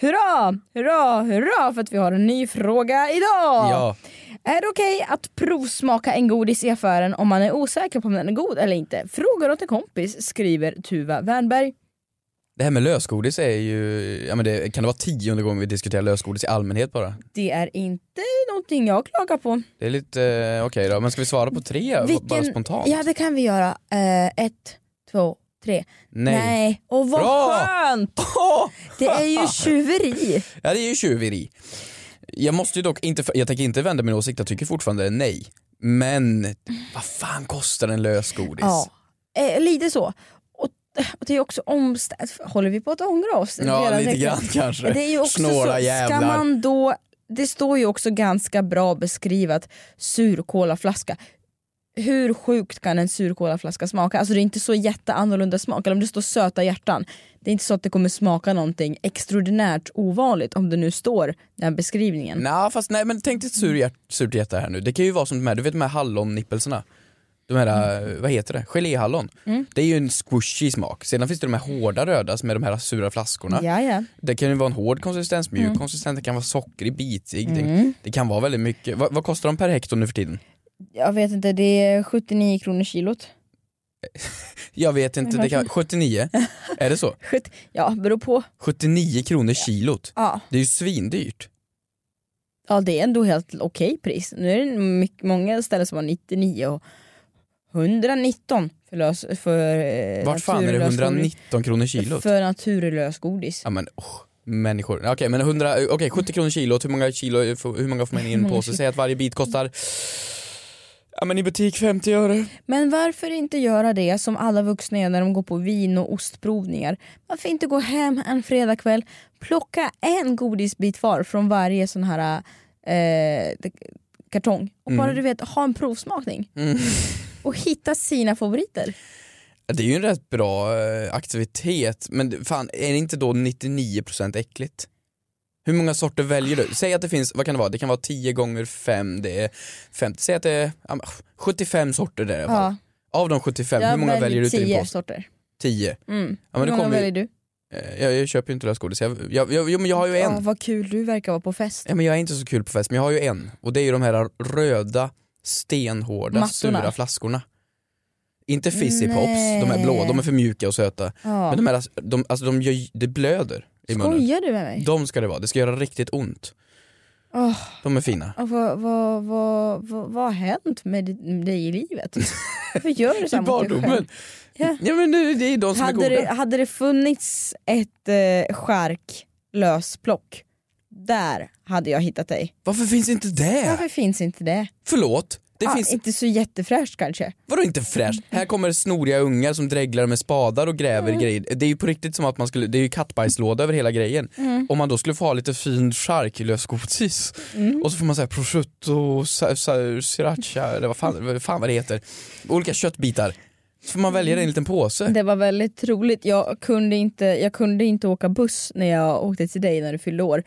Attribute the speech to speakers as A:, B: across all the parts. A: hurra, hurra, hurra för att vi har en ny fråga idag.
B: Ja.
A: Är det okej att provsmaka en godis i affären om man är osäker på om den är god eller inte? Frågar åt en kompis, skriver Tuva Wernberg.
B: Det här med lösgodis är ju, ja men det, kan det vara tionde gången vi diskuterar lösgodis i allmänhet bara?
A: Det är inte någonting jag klagar på.
B: Det är lite, eh, okej då, men ska vi svara på tre bara spontant?
A: Ja det kan vi göra. Eh, ett, två, tre.
B: Nej.
A: Och vad
B: Bra!
A: skönt!
B: Åh!
A: Det är ju tjuveri.
B: Ja det är ju tjuveri. Jag måste ju dock inte, jag tänker inte vända min åsikt, jag tycker fortfarande det är nej. Men vad fan kostar en lösgodis?
A: Ja, eh, lite så. Och, och det är också omständigt. Håller vi på att ångra oss?
B: Ja,
A: Redan
B: lite
A: direkt?
B: grann kanske.
A: Det är ju också
B: Snåla
A: så, ska
B: jävlar.
A: man då, det står ju också ganska bra beskrivet surkolaflaska. Hur sjukt kan en surkolaflaska smaka? Alltså det är inte så jätteannorlunda smak, eller om det står söta hjärtan. Det är inte så att det kommer smaka någonting extraordinärt ovanligt om det nu står den här beskrivningen.
B: Nej fast nej men tänk dig ett sur hjärt, surt hjärta här nu, det kan ju vara som de här, du vet de här hallonnippelserna? De här,
A: Mm.
B: eh, vad heter det, geléhallon. Det är ju en squishy smak, sedan finns det de här hårda röda som är de här sura flaskorna.
A: Ja, ja.
B: Det kan ju vara en hård konsistens, mjuk konsistens, det kan vara sockrig, bitig, det, det kan vara väldigt mycket. Vad- vad kostar de per hekto nu för tiden?
A: Jag vet inte, det är 79 kronor kilot.
B: Jag vet inte, det kan, 79, är det så?
A: Sjut- Ja, beror på.
B: 79 kronor kilot,
A: Ja.
B: det är ju svindyrt.
A: Ja det är ändå helt okej pris. Nu är det mycket, många ställen som har 99 och 119 för, lös, för eh,
B: Vart fan är det
A: naturlös
B: 119 kronor
A: godis.
B: kilot?
A: För naturlös godis.
B: Ja men oh, människor. Okej men 100, okej 70 kronor kilot, hur många kilo, eh, får- hur många får man in i en påse? Säg att varje bit kostar, ja men i butik 50 öre.
A: Men varför inte göra det som alla vuxna gör när de går på vin och ostprovningar? Varför inte gå hem en fredagkväll, plocka en godisbit var från varje sån här eh, kartong och
B: Mm.
A: bara du vet ha en provsmakning. Och hitta sina favoriter.
B: Det är ju en rätt bra eh, aktivitet, men fan är det inte då 99% äckligt? Hur många sorter väljer du? Säg att det finns, vad kan det vara, det kan vara 10 gånger 5, det är 50, säg att det är ja, men, 75 sorter där i alla fall.
A: Ja,
B: Av de 75, hur
A: jag
B: många
A: väljer
B: väljer du till din
A: tio
B: påse?
A: sorter.
B: 10.
A: Mm.
B: Ja, men det
A: Hur många
B: kommer ju-
A: väljer du?
B: Eh, Jag, jag köper ju inte lösgodis, jag, jag, jag, jo, men jag har ju en.
A: Ja, vad kul du verkar vara på fest.
B: Ja, men jag är inte så kul på fest, men jag har ju en. Och det är ju de här röda, stenhårda,
A: Mattorna.
B: sura flaskorna. Inte fizzy pops, de
A: Nej.
B: är blå, de är för mjuka och söta.
A: Ja.
B: Men de här, de, alltså de gör, ju- det blöder i munnen.
A: Skojar du med mig?
B: De ska det vara, det ska göra riktigt ont.
A: Åh,
B: De är fina.
A: och vad, vad, vad, vad, vad har hänt med di- dig i livet? Varför gör du så här mot dig själv? Ja.
B: Ja men det, det är ju de som
A: Hade
B: är goda.
A: det, hade det funnits ett eh, skärk lösplock, där hade jag hittat dig.
B: Varför finns inte det?
A: Varför finns inte det?
B: Förlåt, det
A: ah,
B: finns,
A: Inte så jättefräscht kanske.
B: vadå inte fräscht? Här kommer snoriga ungar som dreglar med spadar och gräver
A: Mm.
B: grejer. Det är ju på riktigt som att man skulle, det är ju kattbajslåda över hela grejen.
A: Mm.
B: Om man då skulle få ha lite fin charklösgodis
A: Mm.
B: och så får man säga prosciutto, sa- sa- sriracha, eller vad fan, vad fan vad det heter. Olika köttbitar. Så får man välja det i en liten påse.
A: Det var väldigt roligt. Jag kunde, inte, jag kunde inte åka buss när jag åkte till dig när du fyllde år.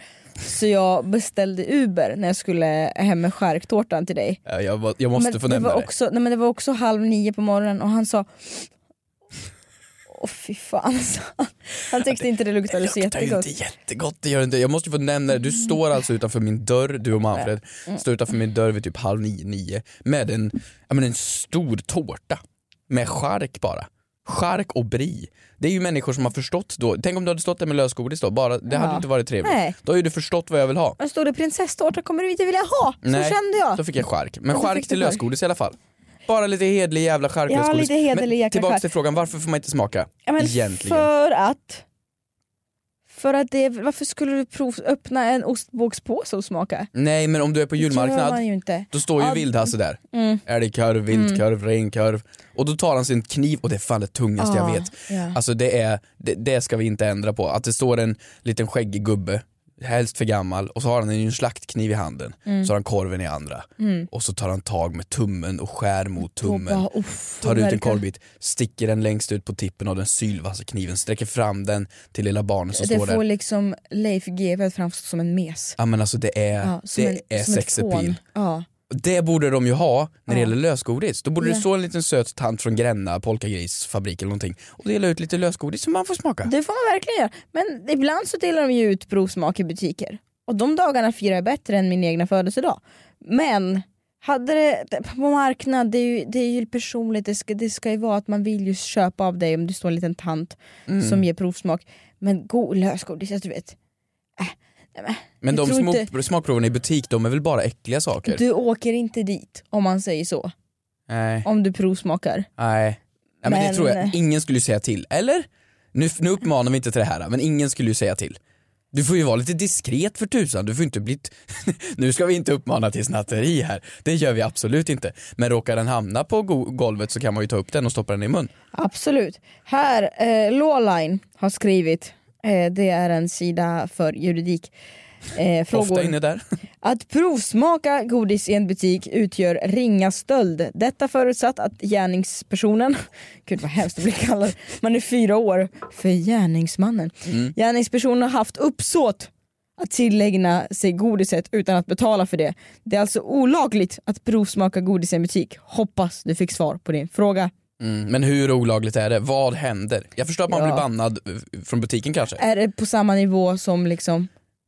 A: Så jag beställde Uber när jag skulle hem med skärktårtan till dig.
B: Ja, Jag, var- jag måste
A: men
B: få
A: det
B: nämna
A: var
B: det.
A: Också, nej men det var också halv nio på morgonen och han sa Åh fy fan alltså. Han tyckte inte det luktade så
B: luktar ju
A: jättegott. Mm.
B: inte jättegott, det gör det inte. Jag måste ju få nämna det. Du står alltså utanför min dörr, du och Manfred, står utanför min dörr vid typ halv nio, nio med en, ja, men en stor tårta med chark bara. Chark och brie. Det är ju människor som har förstått då. Tänk om du hade stått där med lösgodis då, bara, det hade
A: Ja.
B: inte varit trevligt.
A: Nej.
B: Då har ju du förstått vad jag vill ha.
A: Och stod det prinsesstårta kommer du inte vilja ha. Så kände jag.
B: Då fick jag chark. Men
A: Ja, då
B: chark
A: fick du
B: till
A: chark.
B: lösgodis i alla fall. Bara lite hedlig jävla charklösgodis.
A: Ja, lite hederlig
B: Men
A: jäkla
B: tillbaka
A: chark.
B: till frågan, varför får man inte smaka?
A: Ja, men
B: Egentligen.
A: För att, för att det, varför skulle du prov, öppna en ostbågspåse och smaka?
B: Nej men om du är på
A: Det gör
B: julmarknad,
A: man ju inte.
B: Då står ju
A: Ja,
B: Vildhasse där.
A: Mm.
B: Älgkorv, viltkorv, renkorv. Och då tar han sin kniv och det är fan det tungaste jag
A: Ja,
B: vet.
A: Ah, ja.
B: Alltså det, är, det, det ska vi inte ändra på. Att det står en liten skäggig gubbe helst för gammal och så har han en slaktkniv i handen,
A: Mm.
B: så har han korven i andra och så tar han tag med tummen och skär mot tummen.
A: bara, uff,
B: tar ut en
A: verkar-
B: korvbit, sticker den längst ut på tippen av den sylvassa kniven, sträcker fram den till lilla barnet som
A: Det
B: står
A: får
B: där.
A: liksom Leif GW att framstå som en mes.
B: Ja men alltså det är,
A: Ja, som
B: det
A: en,
B: är
A: som ett
B: sex
A: fån.
B: appeal.
A: Ja.
B: Det borde de ju ha när det
A: Ja.
B: gäller lösgodis. Då borde
A: Ja.
B: det stå en liten söt tant från Gränna polkagrisfabrik eller någonting och dela ut lite lösgodis som man får smaka.
A: Det får man verkligen göra. Men ibland så delar de ju ut provsmak i butiker. Och de dagarna firar jag bättre än min egna födelsedag. Men hade det, på marknad, det är ju, det är ju personligt, det ska, det ska ju vara att man vill ju köpa av dig om det står en liten tant som ger provsmak. Men god lösgodis, alltså du vet. Äh, nej men.
B: men
A: jag
B: de
A: tror
B: små
A: inte-
B: smakproverna i butik de är väl bara äckliga saker?
A: Du åker inte dit om man säger så.
B: Nej.
A: Om du provsmakar.
B: Nej. Ja, men,
A: Men-
B: det tror jag, ingen skulle ju säga till. Eller? Nu, nu uppmanar vi inte till det här men ingen skulle ju säga till. Du får ju vara lite diskret för tusan, du får inte bli... t- nu ska vi inte uppmana till snatteri här, det gör vi absolut inte. Men råkar den hamna på go- golvet så kan man ju ta upp den och stoppa den i mun.
A: Absolut. Här, eh, Lawline har skrivit, eh, det är en sida för juridik. Eh, frågor.
B: Ofta inne där.
A: Att provsmaka godis i en butik utgör ringa stöld. Detta förutsatt att gärningspersonen, gud vad hemskt det blir kallad, man är fyra år, för gärningsmannen. Gärningspersonen har haft uppsåt att tillägna sig godiset utan att betala för det. Det är alltså olagligt att provsmaka godis i en butik. Hoppas du fick svar på din fråga.
B: Mm, men hur olagligt är det? Vad händer? Jag förstår att man
A: Ja.
B: blir bannad eh, från butiken kanske.
A: Är det på samma nivå som liksom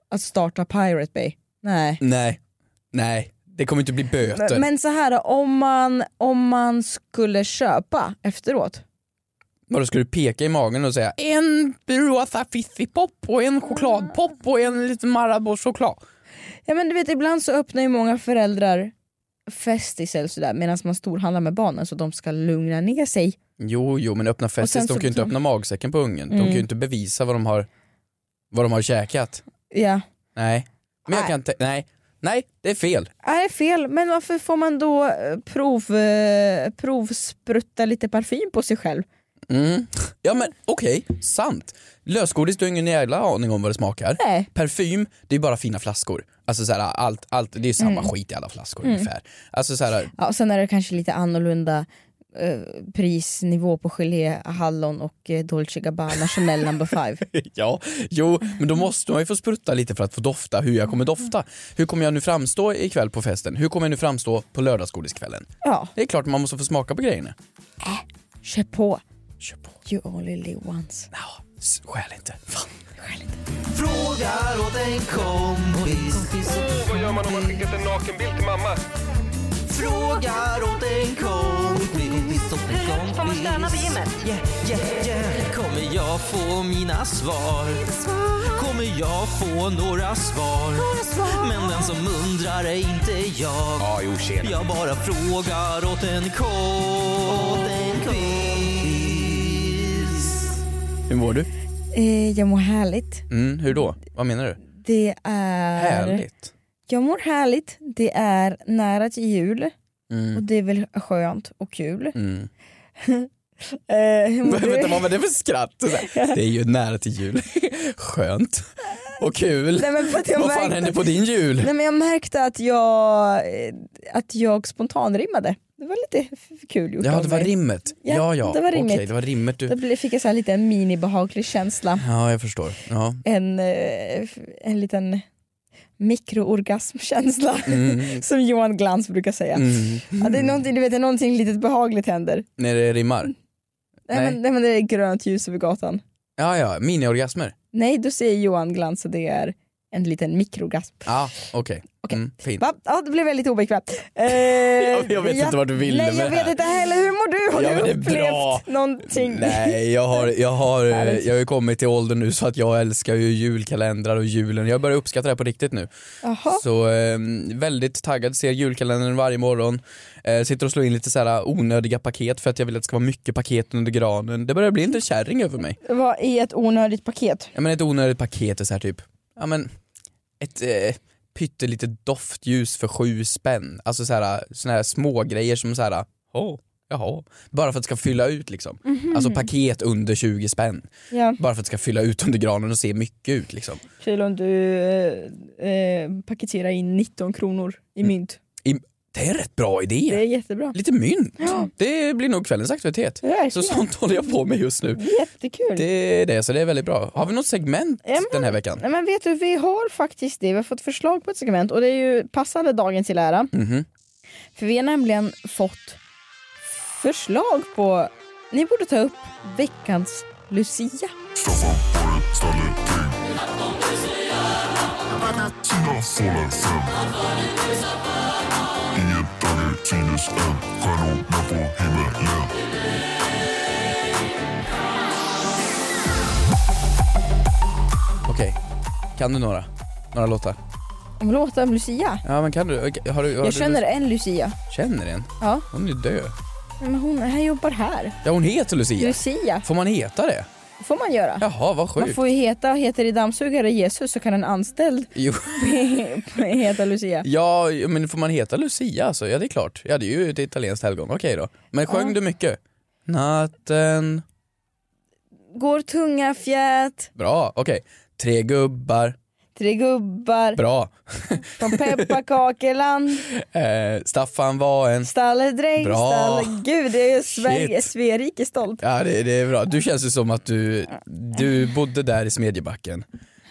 A: att starta Pirate Bay? Nej.
B: Nej, nej, det kommer inte bli böter.
A: Men, men så här om man, om man skulle köpa efteråt.
B: Vadå, ska du peka i magen och säga en rosa fizzypop och en chokladpop och en liten Marabou-choklad?
A: Ja men du vet ibland så öppnar ju många föräldrar festis eller sådär medan man storhandlar med barnen så de ska lugna ner sig.
B: Jo, jo, men öppna
A: Och sen
B: festis, de
A: så- Mm.
B: kan ju inte öppna magsäcken på ungen. De kan ju inte bevisa vad de har, vad de har käkat.
A: Ja.
B: Nej, men jag
A: Nej.
B: kan inte, nej, nej, det är fel.
A: Är det är fel, men varför får man då eh, prov, eh, provsprutta lite parfym på sig själv?
B: Mm. Ja men okej, sant. Lösgodis, du har ingen jävla aning om vad det smakar.
A: Nej.
B: Parfym, det är bara fina flaskor. Alltså så här, allt, allt, det är samma skit i alla flaskor ungefär. Alltså så här,
A: Ja, och sen är det kanske lite annorlunda eh, prisnivå på gelé, hallon och eh, Dolce Gabbana Chanel number five.
B: ja, jo, men då måste man ju få sprutta lite för att få dofta hur jag kommer dofta. Hur kommer jag nu framstå ikväll på festen? Hur kommer jag nu framstå på lördagsgodiskvällen?
A: Ja,
B: Det är klart man måste få smaka på grejerna.
A: kör på.
B: Kör på.
A: You only live once.
B: Ja, s- skäl inte. Fan.
A: Skäl inte.
C: Frågar åt en kompis.
D: Vad gör man om man skickat en nakenbild till mamma?
C: Frågar åt en kompis. Åt en kompis.
E: Får man stanna vid gymmet?
C: Yeah, yeah, yeah. Kommer jag få mina svar? Kommer jag få några svar? Men den som undrar är inte jag.
D: Ja, jo tjena.
C: Jag bara frågar åt en kompis.
B: Hur mår du?
A: Eh, jag mår härligt.
B: Mm, hur då? Vad menar du?
A: Det är...
B: Härligt.
A: Jag mår härligt, det är nära till jul
B: Mm.
A: och det är väl skönt och kul.
B: Mm.
A: Eh, hur mår
B: Vänta,
A: du?
B: vad var det för skratt? Så här, Det är ju nära till jul. Skönt. Och kul.
A: Nej, men för att jag
B: Vad fan
A: märkte-
B: hände på din jul?
A: Nej, men jag märkte att jag, eh, att jag spontanrimmade. Det var lite f- kul gjort
B: Ja,
A: av
B: det var
A: mig.
B: rimmet.
A: Ja,
B: Ja, ja.
A: det var rimmet.
B: Okej, det var rimmet
A: Då
B: du.
A: blev- fick jag så här lite en minibehaglig känsla.
B: Ja, jag förstår. Ja.
A: En, eh, f- en liten mikroorgasmkänsla som Johan Glans brukar säga.
B: Mm.
A: Ja, det är någonting, du vet, det är någonting litet behagligt händer.
B: När det rimmar?
A: Nej.
B: Nej.
A: men, nej men det är grönt ljus över gatan.
B: Ja, ja. Miniorgasmer?
A: Nej, då säger Johan Glans och det är en liten mikrogasp.
B: Ja, okej.
A: Okej.
B: Mm, fint.
A: Va? Ja, det blev väldigt obekvämt. Eh,
B: vet inte vad du ville
A: nej,
B: med
A: jag
B: det
A: vet
B: här.
A: inte heller. Hur mår du? Har
B: Ja,
A: du
B: men det är
A: upplevt
B: bra.
A: någonting?
B: Nej, jag har, jag, har, eh,
A: Härligt.
B: jag har ju kommit till åldern nu så att jag älskar ju julkalendrar och julen. Jag börjar uppskatta det här på riktigt nu.
A: Jaha.
B: Så eh, väldigt taggad, ser julkalendern varje morgon. Eh, sitter och slår in lite så här onödiga paket för att jag vill att det ska vara mycket paket under granen. Det börjar bli en liten kärring över mig.
A: Vad är ett onödigt paket?
B: Ja men ett onödigt paket är så här typ, ja men ett eh, pyttelitet doftljus för sju spänn. Alltså så här, såna här små grejer som så här, åh, Jaha. Bara för att det ska fylla ut liksom. Alltså paket under 20 spänn.
A: Ja.
B: Bara för att det ska fylla ut under granen och se mycket ut liksom.
A: Kul om du eh, eh, paketerar in 19 kronor i
B: Mm.
A: mynt.
B: I, det är en rätt bra idé.
A: Det är jättebra.
B: Lite mynt. Det blir nog kvällens aktivitet.
A: Verkligen.
B: Så sånt håller jag på med just nu.
A: Jättekul.
B: Det är det, så det är väldigt bra. Har vi något segment
A: Ja, men-
B: den här veckan?
A: Nej, men vet du, vi har faktiskt det. Vi har fått förslag på ett segment och det är ju passande dagen till ära.
B: Mhm.
A: För vi har nämligen fått förslag på... Ni borde ta upp veckans Lucia.
B: Okej. Kan du några? Några låtar?
A: Om låten Lucia.
B: Ja men kan du? Okej, Har du har
A: Jag
B: du,
A: känner en Lucia.
B: Känner en?
A: Ja.
B: Hon är död.
A: Nej, Men hon här jobbar här.
B: Ja hon heter Lucia.
A: Lucia.
B: Får man heta det?
A: får man göra.
B: Jaha vad
A: Man
B: sjukt.
A: får ju heta, heter det dammsugare Jesus så kan en anställd
B: Jo.
A: heta Lucia.
B: Ja men får man heta Lucia alltså? Ja det är klart. Ja det är ju ett italienskt helgon. Okej då. Men sjöng du mycket? Natten.
A: Går tunga fjät,
B: Bra. Okej. Tre gubbar.
A: tre gubbar
B: Bra.
A: från pepparkakeland,
B: Eh, Staffan var en...
A: stalledräng,
B: Bra.
A: stalle... Gud, det är ju Sverige,
B: Shit.
A: Sverige är stolt.
B: Ja det, det är bra. Du känns ju som att du, du bodde där i Smedjebacken.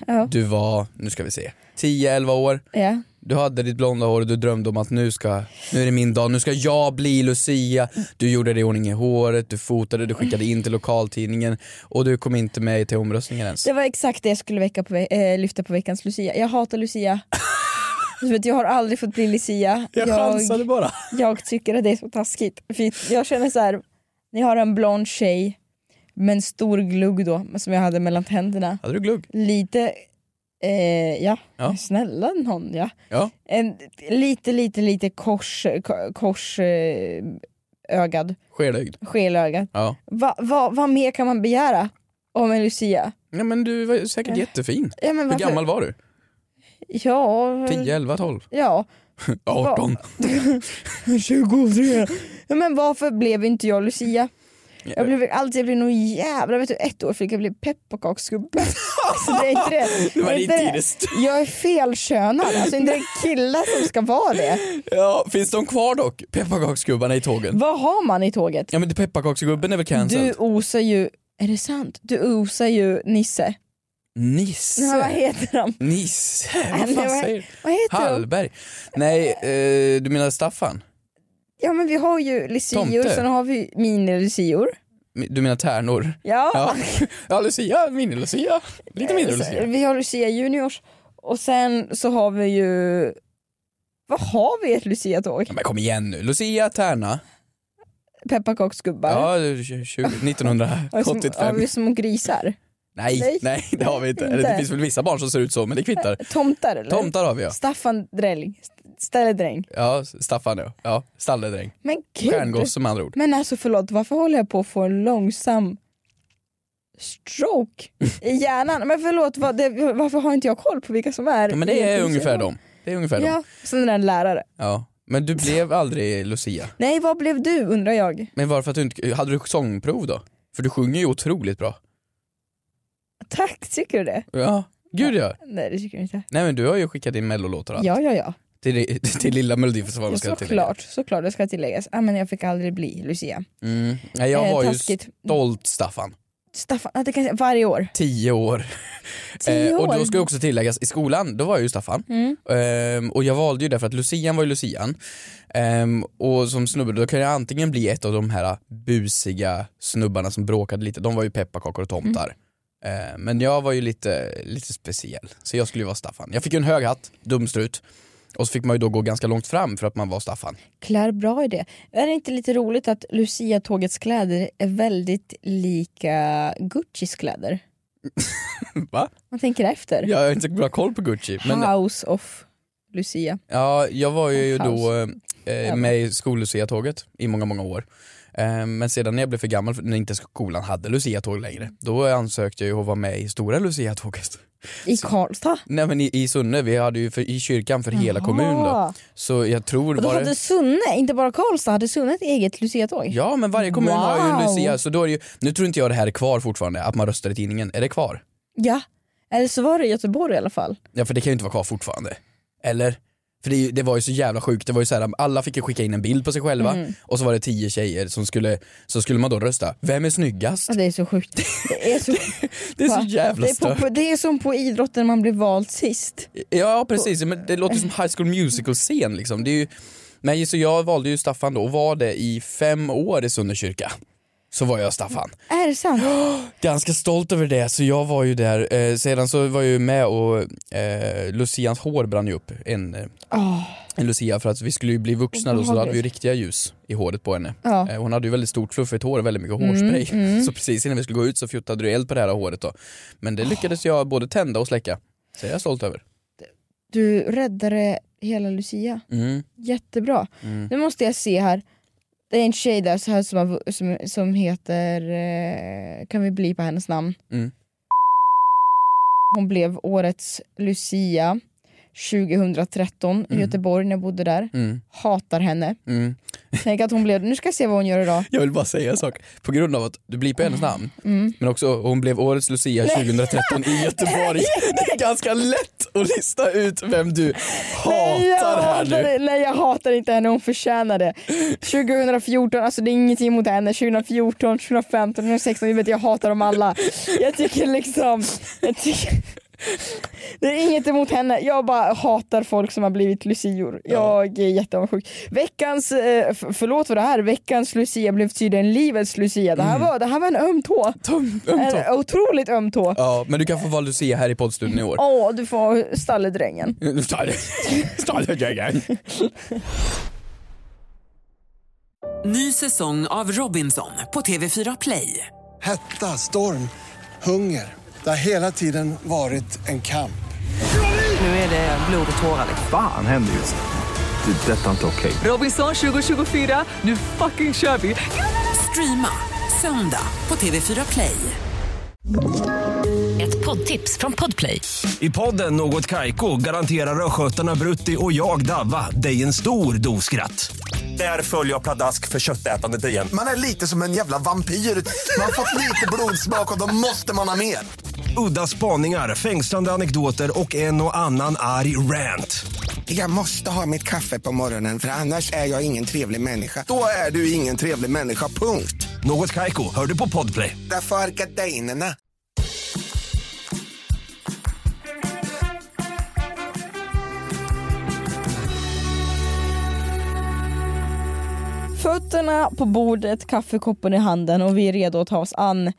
A: Ja.
B: Du var, nu ska vi se, 10-11 år.
A: Ja.
B: Du hade ditt blonda hår och du drömde om att nu ska, nu är det min dag, nu ska jag bli Lucia. Du gjorde det i ordning i håret, du fotade, du skickade in till lokaltidningen och du kom inte med till omröstningen ens.
A: Det var exakt det jag skulle väcka på, ve- eh, lyfta på veckans Lucia. Jag hatar Lucia. Du vet, jag har aldrig fått bli Lucia.
B: bara.
A: jag tycker att det är så taskigt. För jag känner så här, ni har en blond tjej med en stor glugg då, som jag hade mellan tänderna.
B: Hade du glugg?
A: lite, eh, ja,
B: Ja.
A: snälla någon ja.
B: Ja.
A: En, lite, lite, lite kors, ko- kors eh, ögad,
B: Skelögd?
A: skelögad.
B: Ja.
A: Va, va, vad mer kan man begära om en Lucia?
B: Ja men du var ju säkert jättefin.
A: Ja, men
B: Hur
A: varför-
B: gammal var du?
A: Ja,
B: 10, 11, 12?
A: ja.
B: 18?
A: 23. Ja, men varför blev inte jag Lucia? Jag blev alltid, jag blev nog jävla, vet du, ett år fick jag bli pepparkaksgubbe. Alltså, det är inte det.
B: Det var
A: är
B: din
A: inte
B: tid, det
A: det. Jag är felkönad, alltså inte det killar som ska vara det.
B: Ja, finns de kvar dock? Pepparkaksgubbarna i tågen?
A: Vad har man i tåget?
B: Ja men det- pepparkaksgubben är väl
A: Du
B: cancelled?
A: osar ju, är det sant? Du osar ju Nisse. Nej, men vad
B: Nisse?
A: heter han?
B: Nisse? Vad fan
A: Nej,
B: säger du?
A: Vad heter han?
B: Hallberg? Nej, eh, du menar Staffan?
A: Ja men vi har ju lucior,
B: Tomte.
A: sen har vi mini-lucior.
B: Du menar tärnor?
A: Ja. Alltså,
B: Ja, ja Lucia, mini-Lucia. Lite mindre Lucia.
A: Vi har Lucia juniors och sen så har vi ju, vad har vi i ett luciatåg?
B: Ja, men kom igen nu, Lucia, Tärna.
A: Pepparkaksgubbar.
B: Ja, det är tj- tjugo-
A: Har vi som- Har
B: 1985.
A: vi små grisar?
B: Nej,
A: Nej.
B: nej det har vi inte. Eller det
A: Inte. Äh,
B: finns väl vissa barn som ser ut så men det kvittar.
A: Tomtar eller?
B: Tomtar har vi ja.
A: Staffan Drälling, St- Ställedräng.
B: Ja, Staffan ja. ja stalledräng.
A: Men gud!
B: Stjärngosse med andra ord.
A: Men alltså förlåt, varför håller jag på att få en långsam stroke i hjärnan? Men förlåt, vad, det, varför har inte jag koll på vilka som är?
B: Ja, men det är
A: Vilka-
B: ungefär dem. Det är ungefär dem.
A: Ja, sen den där lärare.
B: Ja. Men du blev aldrig Lucia.
A: Nej, vad blev du undrar jag?
B: Men varför att du inte, hade du sångprov då? För du sjunger ju otroligt bra.
A: Tack, tycker du det?
B: Ja, gud ja.
A: Nej det tycker jag inte.
B: Nej men du har ju skickat in mellolåtar och allt.
A: Ja, ja, ja.
B: Till, till lilla melodifestivalen
A: ja
B: ska jag tillägga.
A: såklart, såklart, det ska tilläggas. Ah, men jag fick aldrig bli Lucia.
B: Mm. Nej, jag
A: Eh,
B: var ju
A: taskigt.
B: stolt Staffan,
A: Staffan, ah, det kan jag säga, varje år.
B: tio år.
A: Tio
B: Eh, och
A: år?
B: då ska jag också tilläggas, i skolan då var jag ju Staffan. Ehm, och jag valde ju därför att Lucian var ju Lucian. Ehm, och som snubbe då kan jag antingen bli ett av de här busiga snubbarna som bråkade lite, de var ju pepparkakor och tomtar. Ehm, men jag var ju lite, lite speciell, så jag skulle ju vara Staffan. Jag fick ju en hög hatt, dumstrut. Och så fick man ju då gå ganska långt fram för att man var Staffan.
A: Klär bra i det. Är det inte lite roligt att Lucia-tågets kläder är väldigt lika Guccis kläder?
B: Va?
A: Man tänker efter.
B: Jag har inte så bra koll på Gucci. Men,
A: House of Lucia.
B: Ja, jag var ju
A: House.
B: då eh, med i skolluciatåget i många, många år. Eh, men sedan när jag blev för gammal, för- när inte skolan hade luciatåg längre, då ansökte jag ju att vara med i stora luciatåget.
A: I Karlstad?
B: Nej men i, i Sunne, vi hade ju för, i kyrkan för hela kommunen då. Så jag tror
A: Och då
B: bara...
A: hade Sunne, inte bara Karlstad, hade Sunne ett eget luciatåg?
B: Ja men varje kommun har ju en
A: Wow.
B: Lucia, så då är det ju, nu tror inte jag det här är kvar fortfarande, att man röstar i tidningen. Är det kvar?
A: ja. Eller så var det i Göteborg i alla fall.
B: Ja för det kan ju inte vara kvar fortfarande. Eller? För det, är ju- det var ju så jävla sjukt, det var ju så här, alla fick ju skicka in en bild på sig själva
A: Mm.
B: och så var det tio tjejer som skulle, så skulle man då rösta, vem är snyggast?
A: Ja, Ah, Det är så sjukt. Det är så,
B: Det är så jävla
A: det är,
B: stört.
A: på, det är som på idrotten man blir vald sist.
B: Ja precis, men det låter som High School Musical-scen liksom. Det är ju, nej, så jag valde ju Staffan då och var det i fem år i Sunne kyrka. Så var jag Staffan.
A: Är det sant?
B: Ganska stolt över det, så jag var ju där. Eh, sedan så var jag ju med och eh, Lucians hår brann ju upp, en, eh, en Lucia, för att vi skulle ju bli vuxna då, så då hade vi ju riktiga ljus i håret på henne.
A: Ja.
B: Eh, hon hade ju väldigt stort fluffigt hår och väldigt mycket hårspray. Så precis innan vi skulle gå ut så fjuttade du eld på det här håret då. Men det lyckades jag både tända och släcka. Så jag är stolt över.
A: Du räddade hela Lucia.
B: Mm.
A: Jättebra. Nu måste jag se här. Det är en tjej där så här som, har, som, som heter... Eh, kan vi bli på hennes namn?
B: Mm.
A: Hon blev årets Lucia 2013 i Göteborg när jag bodde där.
B: Mm.
A: Hatar henne.
B: Mm.
A: Tänk att hon blev... Nu ska jag se vad hon gör idag.
B: Jag vill bara säga en sak. På grund av att du blipar hennes namn, men också hon blev årets Lucia 2013 i Göteborg. Det är ganska lätt att lista ut vem du
A: jag
B: hatar här
A: hatar,
B: nu.
A: det. nej jag hatar inte henne, hon förtjänar det. 2014, alltså det är ingenting mot henne. 2014, 2015, 2016, jag vet jag hatar dem alla. Jag tycker liksom, jag tycker, det är inget emot henne, jag bara hatar folk som har blivit lucior. Jag är jätteavundsjuk. Veckans, eh, f- förlåt för det här, veckans lucia blev tydligen livets lucia. Det här var, det här var en öm tå.
B: Mm. Tom, öm tom.
A: En otroligt öm tå.
B: Ja, men du kan få vara Lucia här i poddstudion i år.
A: Åh, du får stalledrängen.
F: Ny säsong av Robinson på TV4 Play.
G: Hetta, storm, hunger. Det har hela tiden varit en kamp.
F: Nu är det blod och tårar.
H: Fan händer just nu. Det. är Detta är inte okej.
F: Robinson 2024, nu fucking kör vi! Streama söndag på TV4 Play.
E: Ett poddtips från Podplay.
I: I podden Något Kaiko garanterar östgötarna Brutti och jag, Davva, dig en stor dos skratt. Där följer jag pladask för köttätandet igen.
J: Man är lite som en jävla vampyr. Man har fått lite blodsmak och då måste man ha mer.
I: Udda spaningar, fängslande anekdoter och en och annan arg rant.
J: Jag måste ha mitt kaffe på morgonen för annars är jag ingen trevlig människa. Då är du ingen trevlig människa, punkt.
I: Något Kaiko, hör du på Podplay.
J: Därför är gardinerna.
A: Fötterna på bordet, kaffekoppen i handen och vi är redo att ta oss an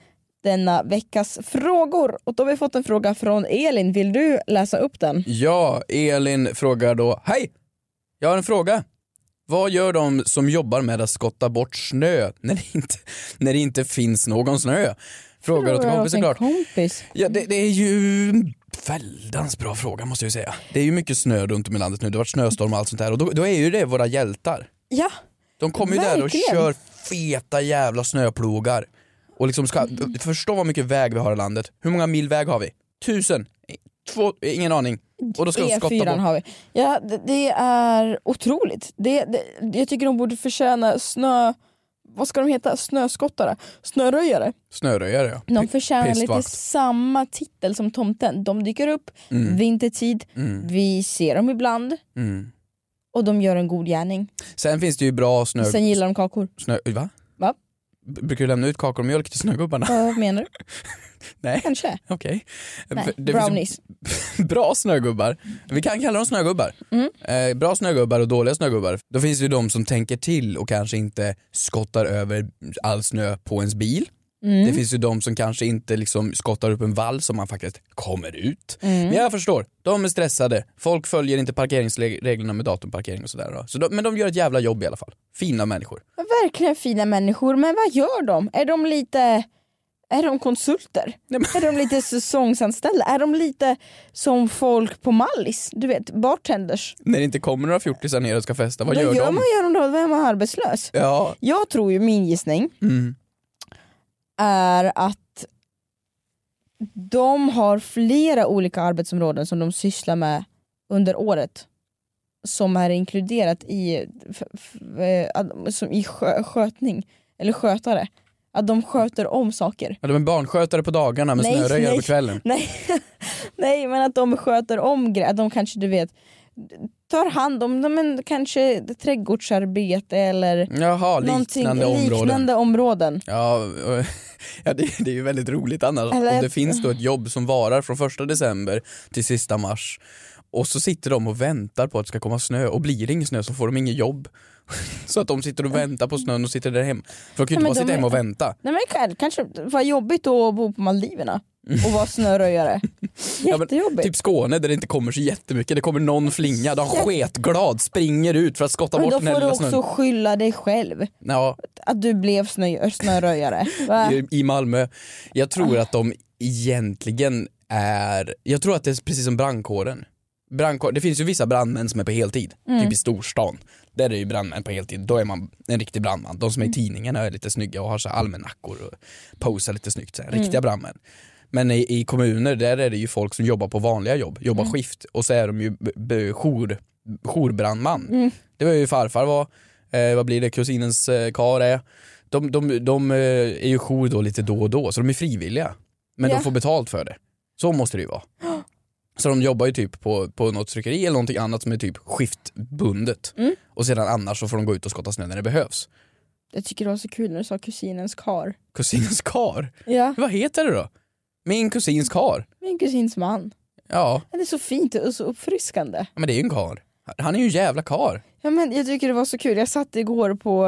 A: denna veckas frågor. Och då har vi fått en fråga från Elin. Vill du läsa upp den?
B: Ja, Elin frågar då, hej! Jag har en fråga. Vad gör de som jobbar med att skotta bort snö när det inte, när det inte finns någon snö? Frågar åt en kompis
A: en
B: såklart.
A: kompis.
B: Ja, det, det är ju en väldans bra fråga måste jag ju säga. Det är ju mycket snö runt om i landet nu, det har varit snöstorm och allt sånt där och då, då är ju det våra hjältar.
A: Ja,
B: De kommer ju där och
A: Verkligen.
B: kör feta jävla snöplogar. Och liksom ska, förstå vad mycket väg vi har i landet. Hur många mil väg har vi? Tusen? Två? Ingen aning. Och då ska de skotta
A: E4
B: bort.
A: E har vi. Ja, det, det är otroligt. Det, det, jag tycker de borde förtjäna snö... Vad ska de heta? Snöskottare? Snöröjare?
B: Snöröjare ja.
A: De förtjänar lite
B: Pistvakt.
A: samma titel som tomten. De dyker upp vintertid, vi ser dem ibland
B: Mm.
A: och de gör en god gärning.
B: Sen finns det ju bra snö...
A: Sen gillar de kakor.
B: snö va?
A: Va?
B: B- Brukar du lämna ut kakor och mjölk till snögubbarna?
A: Vad menar du?
B: Nej.
A: Kanske.
B: Okej.
A: Nej,
B: För det finns ju
A: brownies.
B: Bra snögubbar. Vi kan kalla dem snögubbar.
A: Mm.
B: Eh, bra snögubbar och dåliga snögubbar. Då finns det ju de som tänker till och kanske inte skottar över all snö på ens bil.
A: Mm.
B: Det finns ju de som kanske inte liksom skottar upp en vall som man faktiskt kommer ut.
A: Mm.
B: Men jag förstår, de är stressade. Folk följer inte parkeringsreglerna med datumparkering och sådär. då. Så de, men de gör ett jävla jobb i alla fall. Fina människor.
A: Verkligen fina människor, men vad gör de? Är de lite... Är de konsulter?
B: Nej, men-
A: Är de lite säsongsanställda? Är de lite som folk på Mallis? Du vet, bartenders.
B: När det inte kommer några fjortisar ner och ska festa, vad
A: Då
B: gör,
A: gör
B: de?
A: man gör de då? Vem är arbetslös?
B: Ja,
A: Jag tror ju, min gissning
B: mm.
A: är att de har flera olika arbetsområden som de sysslar med under året som är inkluderat i, f, f, eh, att- som i skö, skötning, eller skötare. Att de sköter om saker.
B: Ja, de är barnskötare på dagarna men
A: Nej,
B: snöröjare
A: nej.
B: på kvällen.
A: Nej, nej men att de sköter om grejer, att de kanske du vet tar hand om ja, men kanske trädgårdsarbete eller
B: Jaha,
A: någonting-
B: liknande områden.
A: liknande områden.
B: Ja, och- ja det, det är ju väldigt roligt annars.
A: Eller-
B: Om det finns då ett jobb som varar från första december till sista mars och så sitter de och väntar på att det ska komma snö och blir det ingen snö så får de inget jobb. Så att de sitter och väntar på snön och sitter där hemma. För de kan
A: Ja, men
B: ju inte bara
A: de
B: sitta
A: är-
B: hemma och vänta.
A: Nej men själv, kanske var jobbigt då att bo på Maldiverna och vara snöröjare.
B: Ja, men
A: Jättejobbigt.
B: typ Skåne där det inte kommer så jättemycket. Det kommer någon flinga, de
A: Jätte-
B: sketglad springer ut för att skotta
A: men
B: bort
A: då
B: den här
A: får du
B: lilla
A: också
B: snön.
A: skylla dig själv
B: Ja,
A: att du blev snö, snöröjare. Va?
B: i, i Malmö. Jag tror att de egentligen är, jag tror att det är precis som brandkåren. Brandkår, det finns ju vissa brandmän som är på heltid, typ i storstan. Där är det ju brandmän på heltid, då är man en riktig brandman. De som är i tidningarna är lite snygga och har så här almanackor och posar lite snyggt, så här, riktiga brandmän. Men i, i kommuner där är det ju folk som jobbar på vanliga jobb, jobbar skift och så är de ju b- b- jour, jourbrandman. Det var ju farfar var, eh, vad blir det, kusinens eh, kar är. De, de, de eh, är ju jour då lite då och då, så de är frivilliga. Men
A: Ja.
B: de får betalt för det. Så måste det ju vara. Så de jobbar ju typ på, på något tryckeri eller någonting annat som är typ skiftbundet. Och sedan annars så får de gå ut och skotta snö när det behövs.
A: Jag tycker det var så kul när du sa kusinens kar.
B: Kusinens kar?
A: Ja,
B: Vad heter det då? Min kusins kar?
A: min kusins man.
B: Ja,
A: Det är så fint och så uppfriskande.
B: men det är ju en kar. Han är ju en jävla kar.
A: Ja, men jag tycker det var så kul, jag satt igår på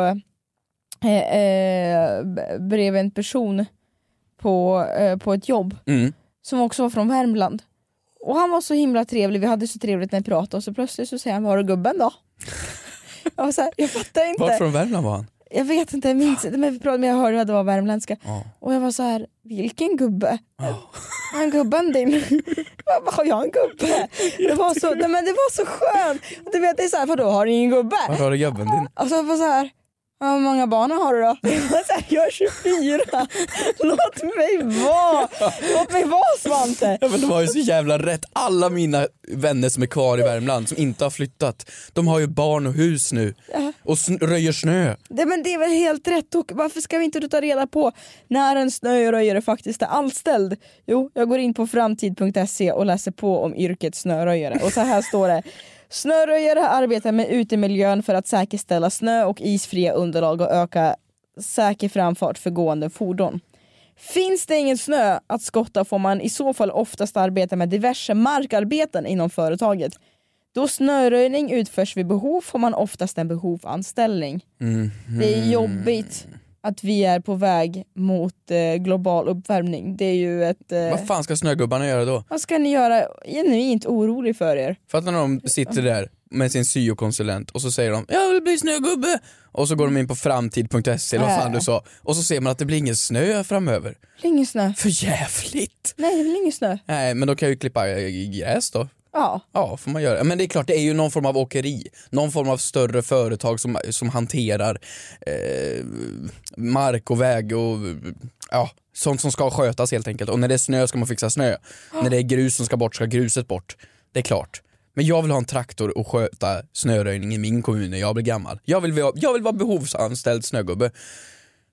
A: eh, eh, b- bredvid en person på, eh, på ett jobb
B: Mm.
A: som också var från Värmland. Och han var så himla trevlig, vi hade så trevligt när vi pratade och så plötsligt så säger han Var är gubben då? jag var så här, jag fattar inte.
B: Vart från Värmland var han?
A: Jag vet inte, jag minns inte men vi pratade men jag hörde att det var värmländska.
B: Ja.
A: Och jag var så här, vilken gubbe? Han gubben din? Jag bara, har jag en gubbe? Det var så, nej, men det var så skönt! Du vet det är så här, vadå har du ingen gubbe?
B: Vart har du gubben din?
A: Och så var jag så här, "Ja, hur många barn har du då? Jag, var så här, jag är 24! Låt mig vara! Låt mig vara Svante!
B: Ja, men de har ju så jävla rätt. Alla mina vänner som är kvar i Värmland som inte har flyttat, de har ju barn och hus nu. Och sn- röjer snö.
A: Det, men det är väl helt rätt och varför ska vi inte då ta reda på när en snöröjare faktiskt är anställd? Jo, jag går in på framtid.se och läser på om yrket snöröjare och så här står det Snöröjare arbetar med utemiljön för att säkerställa snö och isfria underlag och öka säker framfart för gående fordon. Finns det ingen snö att skotta får man i så fall oftast arbeta med diverse markarbeten inom företaget. Då snöröjning utförs vid behov får man oftast en behovanställning. Det är jobbigt att vi är på väg mot eh, global uppvärmning. Det är ju ett... Eh,
B: Vad fan ska snögubbarna göra då?
A: vad ska ni göra? Genuint orolig för er.
B: För att när de sitter där med sin syokonsulent och så säger de “Jag vill bli snögubbe” och så går de in på framtid.se eller E, vad fan du sa och så ser man att det blir ingen snö framöver.
A: Det blir ingen snö.
B: För jävligt!
A: Nej det blir ingen snö.
B: Nej men då kan jag ju klippa eh, gräs då.
A: Ja.
B: Ja, får man göra. Men det är klart, det är ju någon form av åkeri, någon form av större företag som, som hanterar eh, mark och väg och ja, sånt som ska skötas helt enkelt. Och när det är snö ska man fixa snö. När det är grus som ska bort ska gruset bort. Det är klart. Men jag vill ha en traktor och sköta snöröjning i min kommun när jag blir gammal. Jag vill, vara- jag vill vara behovsanställd snögubbe.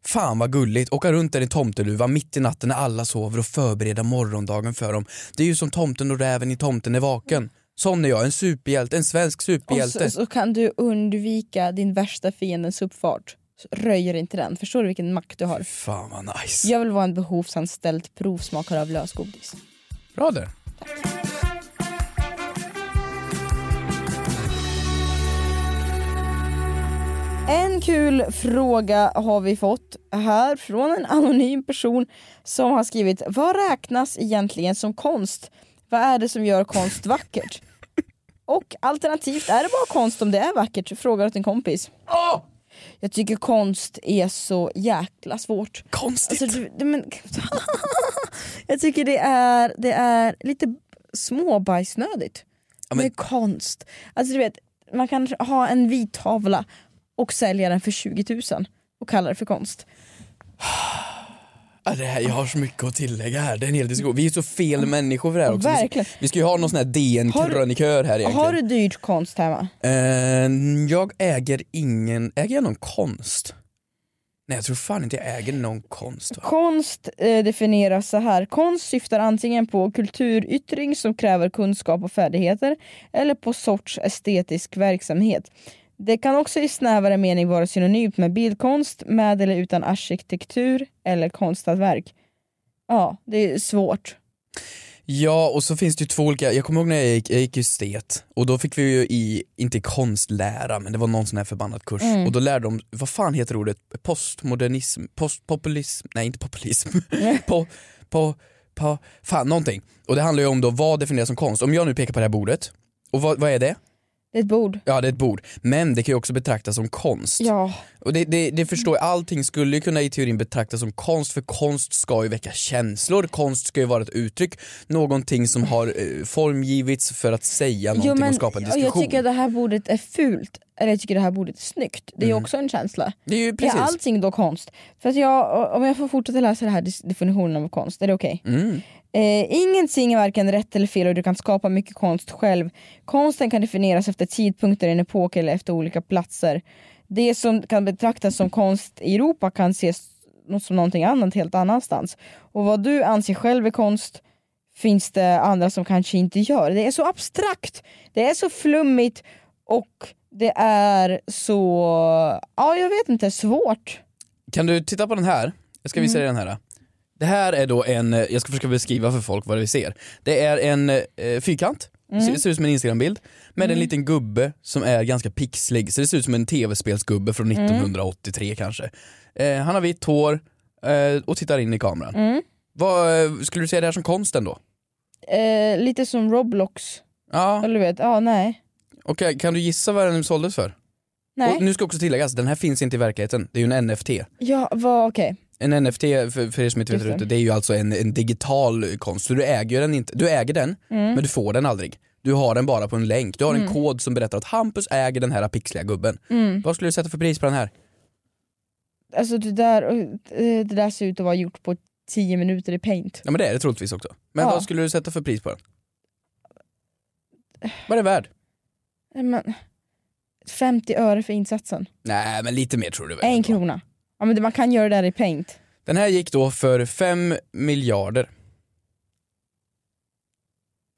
B: Fan vad gulligt, åka runt där i tomteluva mitt i natten när alla sover och förbereda morgondagen för dem. Det är ju som tomten och räven i Tomten är vaken. Sån är jag, en superhjälte, en svensk
A: Och
B: superhjälte.
A: så, så kan du undvika din värsta fiendens uppfart. Så Röjer inte den. Förstår du vilken makt du har?
B: Fan vad nice.
A: Jag vill vara en behovsanställd provsmakare av lösgodis.
B: Bra där.
A: En kul fråga har vi fått här från en anonym person som har skrivit Vad räknas egentligen som konst? Vad är det som gör konst vackert? Och alternativt, är det bara konst om det är vackert? Frågar åt en kompis. Jag tycker konst är så jäkla svårt.
B: Konstigt.
A: Alltså, du, du, men, jag tycker det är, det är lite småbajsnödigt
B: men-
A: med konst. Alltså du vet, man kan ha en vit tavla och sälja den för 20 000 och kalla det för konst.
B: Ja, det här, jag har så mycket att tillägga här, det är en hel diskussion. Vi är så fel människor för det här också. Vi ska-
A: Mm. Verkligen.
B: Vi ska ju ha någon sån här
A: Har du-
B: DN-krönikör här egentligen.
A: Har du dyrt konst hemma?
B: Eh, jag äger ingen, äger jag någon konst? Nej jag tror fan inte jag äger någon konst. Va?
A: Konst eh, definieras så här. Konst syftar antingen på kulturyttring som kräver kunskap och färdigheter eller på sorts estetisk verksamhet. Det kan också i snävare mening vara synonymt med bildkonst, med eller utan arkitektur eller konsthantverk. Ja, det är svårt.
B: Ja och så finns det ju två olika, jag kommer ihåg när jag gick, jag gick estet och då fick vi ju i, inte konstlära men det var någon sån här förbannad kurs och då lärde de, vad fan heter ordet, postmodernism, postpopulism, nej inte populism, på, på, på, fan någonting. Och det handlar ju om då vad definieras som konst. Om jag nu pekar på det här bordet, och vad, vad är det?
A: Det är ett bord.
B: Ja det är ett bord, men det kan ju också betraktas som konst.
A: Ja.
B: Och det, det, det förstår jag, allting skulle ju kunna i teorin betraktas som konst för konst ska ju väcka känslor, konst ska ju vara ett uttryck, någonting som har eh, formgivits för att säga någonting
A: Jo, men,
B: och skapa en
A: och jag
B: diskussion.
A: tycker att det här bordet är fult, eller jag tycker det här bordet är snyggt. Det är
B: Mm.
A: ju också en känsla.
B: Det är ju precis.
A: Är allting då konst? För att jag, om jag får fortsätta läsa den här dis- definitionen av konst, är det okej? Eh, ingenting är varken rätt eller fel och du kan skapa mycket konst själv. Konsten kan definieras efter tidpunkter, en epok eller efter olika platser. Det som kan betraktas som konst i Europa kan ses något som någonting annat helt annanstans. Och vad du anser själv är konst finns det andra som kanske inte gör. Det är så abstrakt, det är så flummigt och det är så, ja jag vet inte, svårt.
B: Kan du titta på den här? Jag ska
A: Mm.
B: visa dig den här. Det här är då en, eh, jag ska försöka beskriva för folk vad vi ser. Det är en eh, fyrkant,
A: Mm.
B: ser, ser ut som en instagrambild, med en liten gubbe som är ganska pixlig, så det ser ut som en tv-spelsgubbe från
A: Mm.
B: 1983 kanske. Eh, han har vitt hår eh, och tittar in i kameran.
A: Mm.
B: Vad, eh, skulle du säga det här som konst ändå?
A: Eh, lite som Roblox,
B: Ja,
A: eller du vet, ja nej.
B: och kan- kan du gissa vad den såldes för?
A: Nej,
B: Och nu ska också tilläggas, den här finns inte i verkligheten, det är ju en NFT.
A: ja vad okej.
B: En NFT, för, för er som inte vet
A: Just det.
B: det. det är ju alltså en, en digital konst. Så du äger den inte. Du äger den,
A: Mm.
B: men du får den aldrig. Du har den bara på en länk. Du har en kod som berättar att Hampus äger den här pixliga gubben.
A: Mm.
B: Vad skulle du sätta för pris på den här?
A: Alltså det där, eh, det där ser ut att vara gjort på 10 minuter i paint.
B: Ja men det är det troligtvis också. Men
A: Ja.
B: vad skulle du sätta för pris på den? Vad är det värd?
A: Nej, Men, 50 öre för insatsen.
B: Nej men lite mer tror du väl?
A: En
B: ändå.
A: krona. Ja men det, man kan göra det där i paint.
B: Den här gick då för 5 miljarder.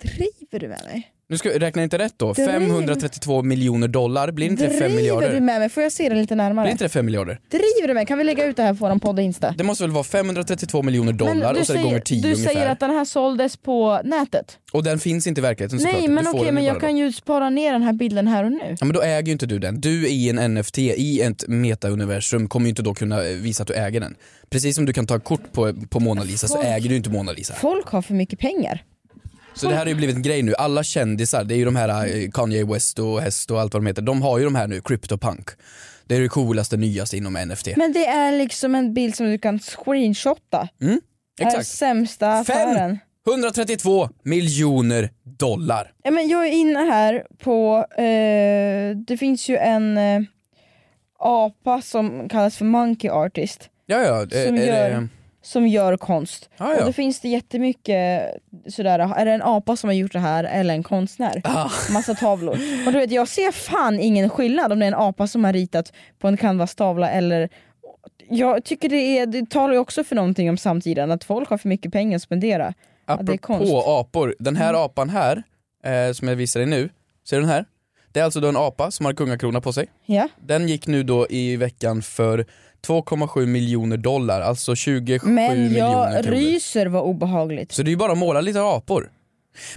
A: Driver du med mig?
B: Nu ska, räknar jag inte rätt då?
A: Driv-
B: 532 miljoner dollar, blir inte det 5
A: Driver du
B: miljarder?
A: med mig? Får jag se det lite närmare?
B: Blir inte det 5 miljarder?
A: Driver du med? Kan vi lägga ut det här på våran podd och Insta?
B: Det måste väl vara 532 miljoner dollar
A: du
B: och så är det gånger 10
A: Du
B: ungefär.
A: säger att den här såldes på nätet?
B: Och den finns inte i verkligheten såklart.
A: Nej
B: Du
A: men
B: får
A: okej
B: den
A: men
B: ju
A: jag
B: bara
A: kan
B: då.
A: ju spara ner den här bilden här och nu.
B: Ja, men då äger ju inte du den. Du i en NFT, i ett metauniversum kommer ju inte då kunna eh, visa att du äger den. Precis som du kan ta kort på, på Mona Lisa så
A: Folk-
B: äger du inte Mona Lisa.
A: Folk har för mycket pengar.
B: Så det här har ju blivit en grej nu. Alla kändisar, det är ju de här eh, Kanye West och Hest och allt vad de heter, de har ju de här nu, CryptoPunk. Det är det coolaste, nyaste inom NFT.
A: Men det är liksom en bild som du kan screenshotta. Är
B: Mm, Exakt.
A: sämsta affären.
B: 532 miljoner dollar.
A: Ja, men jag är inne här på, eh, det finns ju en eh, apa som kallas för monkey artist.
B: Ja, ja. eh,
A: Som
B: är det-
A: gör- som gör konst.
B: Ah, ja.
A: Och då finns det jättemycket sådär, är det en apa som har gjort det här eller en konstnär?
B: Ah,
A: Massa tavlor. Och du vet, jag ser fan ingen skillnad om det är en apa som har ritat på en canvas-tavla eller jag tycker det, är, det talar ju också för någonting om samtiden, att folk har för mycket pengar att spendera. att det är konst. Mm.
B: Apropå apor, den här apan här, eh, som jag visar dig nu, ser du den här? Det är alltså då en apa som har kungakrona på sig.
A: Ja.
B: Den gick nu då i veckan för 2,7 miljoner dollar, alltså 27
A: Men
B: miljoner
A: jag
B: kronor.
A: ryser vad obehagligt.
B: Så det är ju bara att måla lite apor.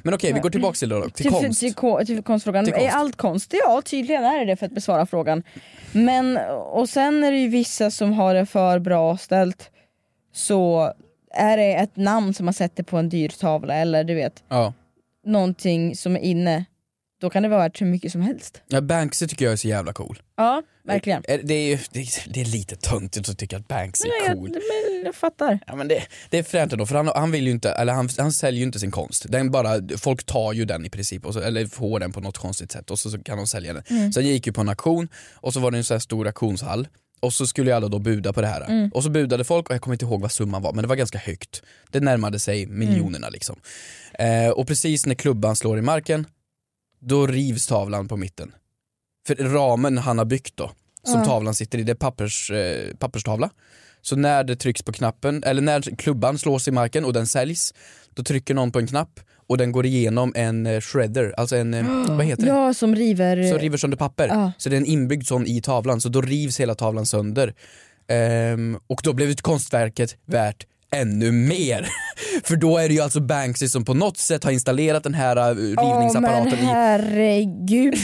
B: Men okej, vi går tillbaka till, det då, till konst.
A: Till, ko- till konstfrågan.
B: Till
A: Är
B: konst.
A: allt konst? Ja, tydligen är det det för att besvara frågan. Men, och sen är det ju vissa som har det för bra ställt. Så är det ett namn som man sätter på en dyr tavla eller du vet,
B: Ja.
A: någonting som är inne. Då kan det vara värt hur mycket som helst.
B: Ja, Banksy tycker jag är så jävla cool.
A: Ja, verkligen.
B: Eh, Det är, ju- det är, det är lite töntigt att tycka att Banksy
A: Men
B: är
A: jag,
B: cool.
A: men jag fattar.
B: Ja, men det, det är fränt ändå, för han, han, vill ju inte, eller han, han säljer ju inte sin konst. Den bara, folk tar ju den i princip, och så, eller får den på något konstigt sätt och så, så kan de sälja den. Så jag gick ju på en auktion och så var det en sån här stor auktionshall Och så skulle ju alla då buda på det här. Och så budade folk och jag kommer inte ihåg vad summan var men det var ganska högt. Det närmade sig miljonerna liksom. Eh, och precis när klubban slår i marken då rivs tavlan på mitten. För ramen han har byggt då, som tavlan sitter i, det är pappers, eh, papperstavla. Så när det trycks på knappen, eller när klubban slås i marken och den säljs, då trycker någon på en knapp och den går igenom en eh, shredder, alltså en, eh, vad heter det?
A: Ja, som river...
B: Så river sönder papper.
A: Eh, Ja.
B: Så det är en inbyggd sån i tavlan, så då rivs hela tavlan sönder. Ehm, och då blev ju konstverket värt ännu mer. För då är det ju alltså Banksy som på något sätt har installerat den här eh,
A: Ja men
B: rivningsapparaten i...
A: herregud.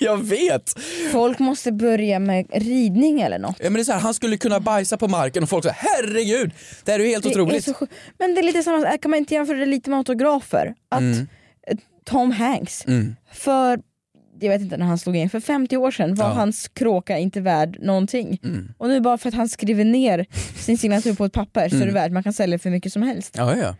B: Jag vet!
A: Folk måste börja med ridning eller något.
B: Ja, men det är så här, han skulle kunna bajsa på marken och folk säger herregud, det här är ju helt
A: Det är
B: otroligt.
A: så sjukt. men det är lite samma, äh, kan man inte jämföra det lite med autografer? Att
B: Mm.
A: eh, Tom Hanks, för jag vet inte när han slog in, för 50 år sedan var
B: Ja. Mm.
A: hans kråka inte värd någonting. Och nu bara för att han skriver ner sin signatur på ett papper så är det
B: Mm.
A: värt, man kan sälja för mycket som helst.
B: Ja, ja.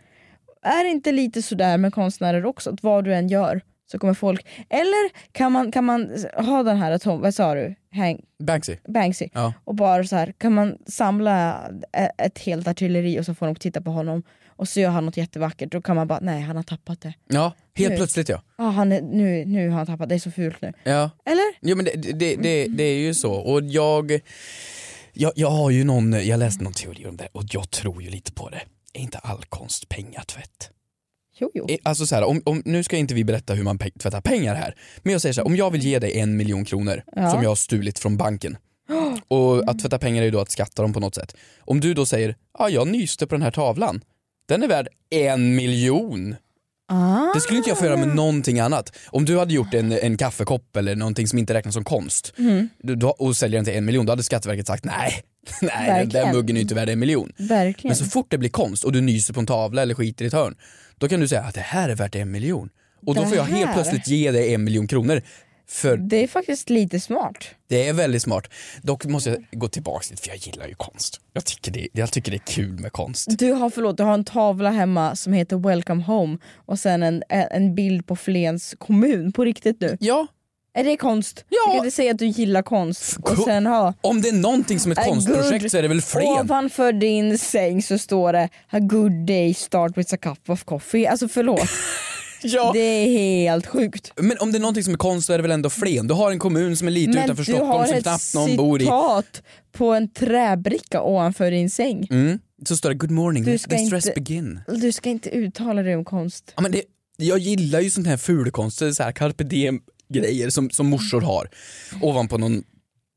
A: Är det inte lite sådär med konstnärer också, att vad du än gör så kommer folk... Eller kan man, kan man ha den här, Tom, vad sa du, Hank,
B: Banksy.
A: Banksy
B: Ja.
A: och bara så här kan man samla e- ett helt artilleri och så får de titta på honom och så gör han något jättevackert då kan man bara nej han har tappat det.
B: Ja, helt
A: Nu.
B: plötsligt ja.
A: Ah, han är, nu, nu har han tappat det, det är så fult nu.
B: ja.
A: Eller?
B: Jo men det, det, det, det är ju så och jag, jag, jag har ju någon, jag läste någon teori om det och jag tror ju lite på det. Är inte all konst pengatvätt?
A: Jo jo.
B: Eh, Alltså så här, om, om, nu ska inte vi berätta hur man pe- tvättar pengar här, men jag säger så här, om jag vill ge dig en miljon kronor
A: Ja. Mm.
B: som jag har stulit från banken och att tvätta pengar är ju då att skatta dem på något sätt. Om du då säger, ja jag nyste på den här tavlan, den är värd en miljon.
A: Ah,
B: Det skulle inte jag få göra med någonting annat. Om du hade gjort en, en kaffekopp eller någonting som inte räknas som konst
A: Mm.
B: du, du, och säljer den till en miljon, då hade Skatteverket sagt nej, nej den där
A: Verkligen.
B: muggen är ju inte värd en miljon.
A: verkligen.
B: Men så fort det blir konst och du nyser på en tavla eller skiter i ett hörn, då kan du säga att det här är värt en miljon. Och då
A: Det
B: får jag helt
A: här. Mm.
B: plötsligt ge dig en miljon kronor. För
A: Det är faktiskt lite smart.
B: det är väldigt smart. Dock måste jag gå tillbaks lite för jag gillar ju konst. Jag tycker det, jag tycker det är kul med konst.
A: Du har, förlåt, du har en tavla hemma som heter Welcome Home och sen en, en- en bild på Flens kommun på riktigt nu.
B: Ja,
A: Är det konst?
B: Ja.
A: Du kan inte säga att du gillar konst och sen ha
B: om det är någonting som ett
A: A
B: konstprojekt
A: good-
B: så är det väl flen.
A: Ovanför din säng så står det A good day start with a cup of coffee. Alltså förlåt,
B: Ja.
A: det är helt sjukt.
B: Men om det är någonting som är konst så är det väl ändå Flen? Du har en kommun som är lite
A: Men
B: utanför
A: du har
B: Stockholm som
A: ett
B: knappt någon bor i.
A: citat på en träbricka ovanför din säng.
B: Mm. Så står det good morning,
A: Du
B: the
A: ska
B: stress
A: inte-
B: begin.
A: Du ska inte uttala dig om konst.
B: Ja, men det, jag gillar ju sånt här fulkonst, så här carpe diem grejer som, som morsor har ovanpå någon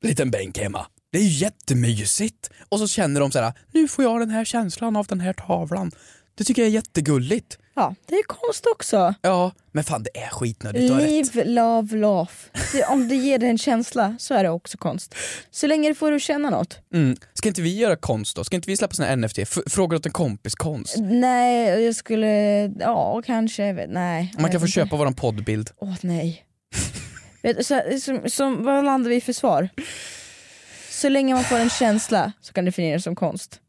B: liten bänk hemma. Det är ju jättemysigt. Och så känner de så här, nu får jag den här känslan av den här tavlan. Det tycker jag är jättegulligt.
A: Ja, det är konst också.
B: Ja, men fan det är skitnödigt, du har rätt.
A: Live, love, laugh. Det- Om det ger dig en känsla så är det också konst. Så länge du får du känna något.
B: Mm. Ska inte vi göra konst då? Ska inte vi släppa såna här NFT? F- frågor åt en kompis konst.
A: Nej, jag skulle... Ja, kanske. jag vet- Nej. jag
B: Man
A: vet
B: kan få
A: inte.
B: köpa våran poddbild.
A: Åh nej. Vet du, så, som, som, vad landar vi i för svar? Så länge man får en känsla så kan det definieras som konst.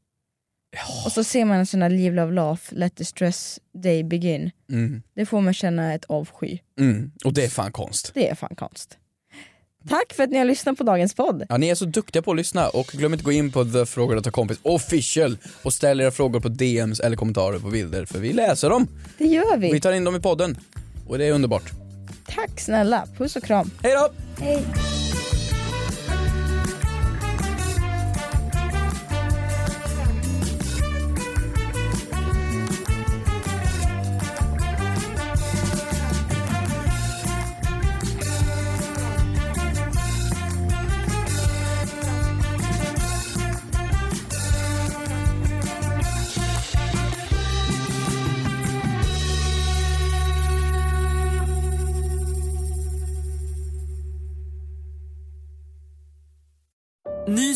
A: Och så ser man en sån här Live, Love, Laugh, Let the stress day begin.
B: Mm.
A: Det får man känna ett avsky.
B: Mm. Och det är fan konst.
A: Det är fan konst. Tack för att ni har lyssnat på dagens podd.
B: Ja, ni är så duktiga på att lyssna och glöm inte gå in på The Frågor att ta kompis official och ställ era frågor på DMs eller kommentarer på bilder för vi läser dem.
A: Det gör
B: Vi
A: vi.
B: tar in dem i podden och det är underbart.
A: Tack snälla. Puss och kram.
B: Hej då!
F: Ny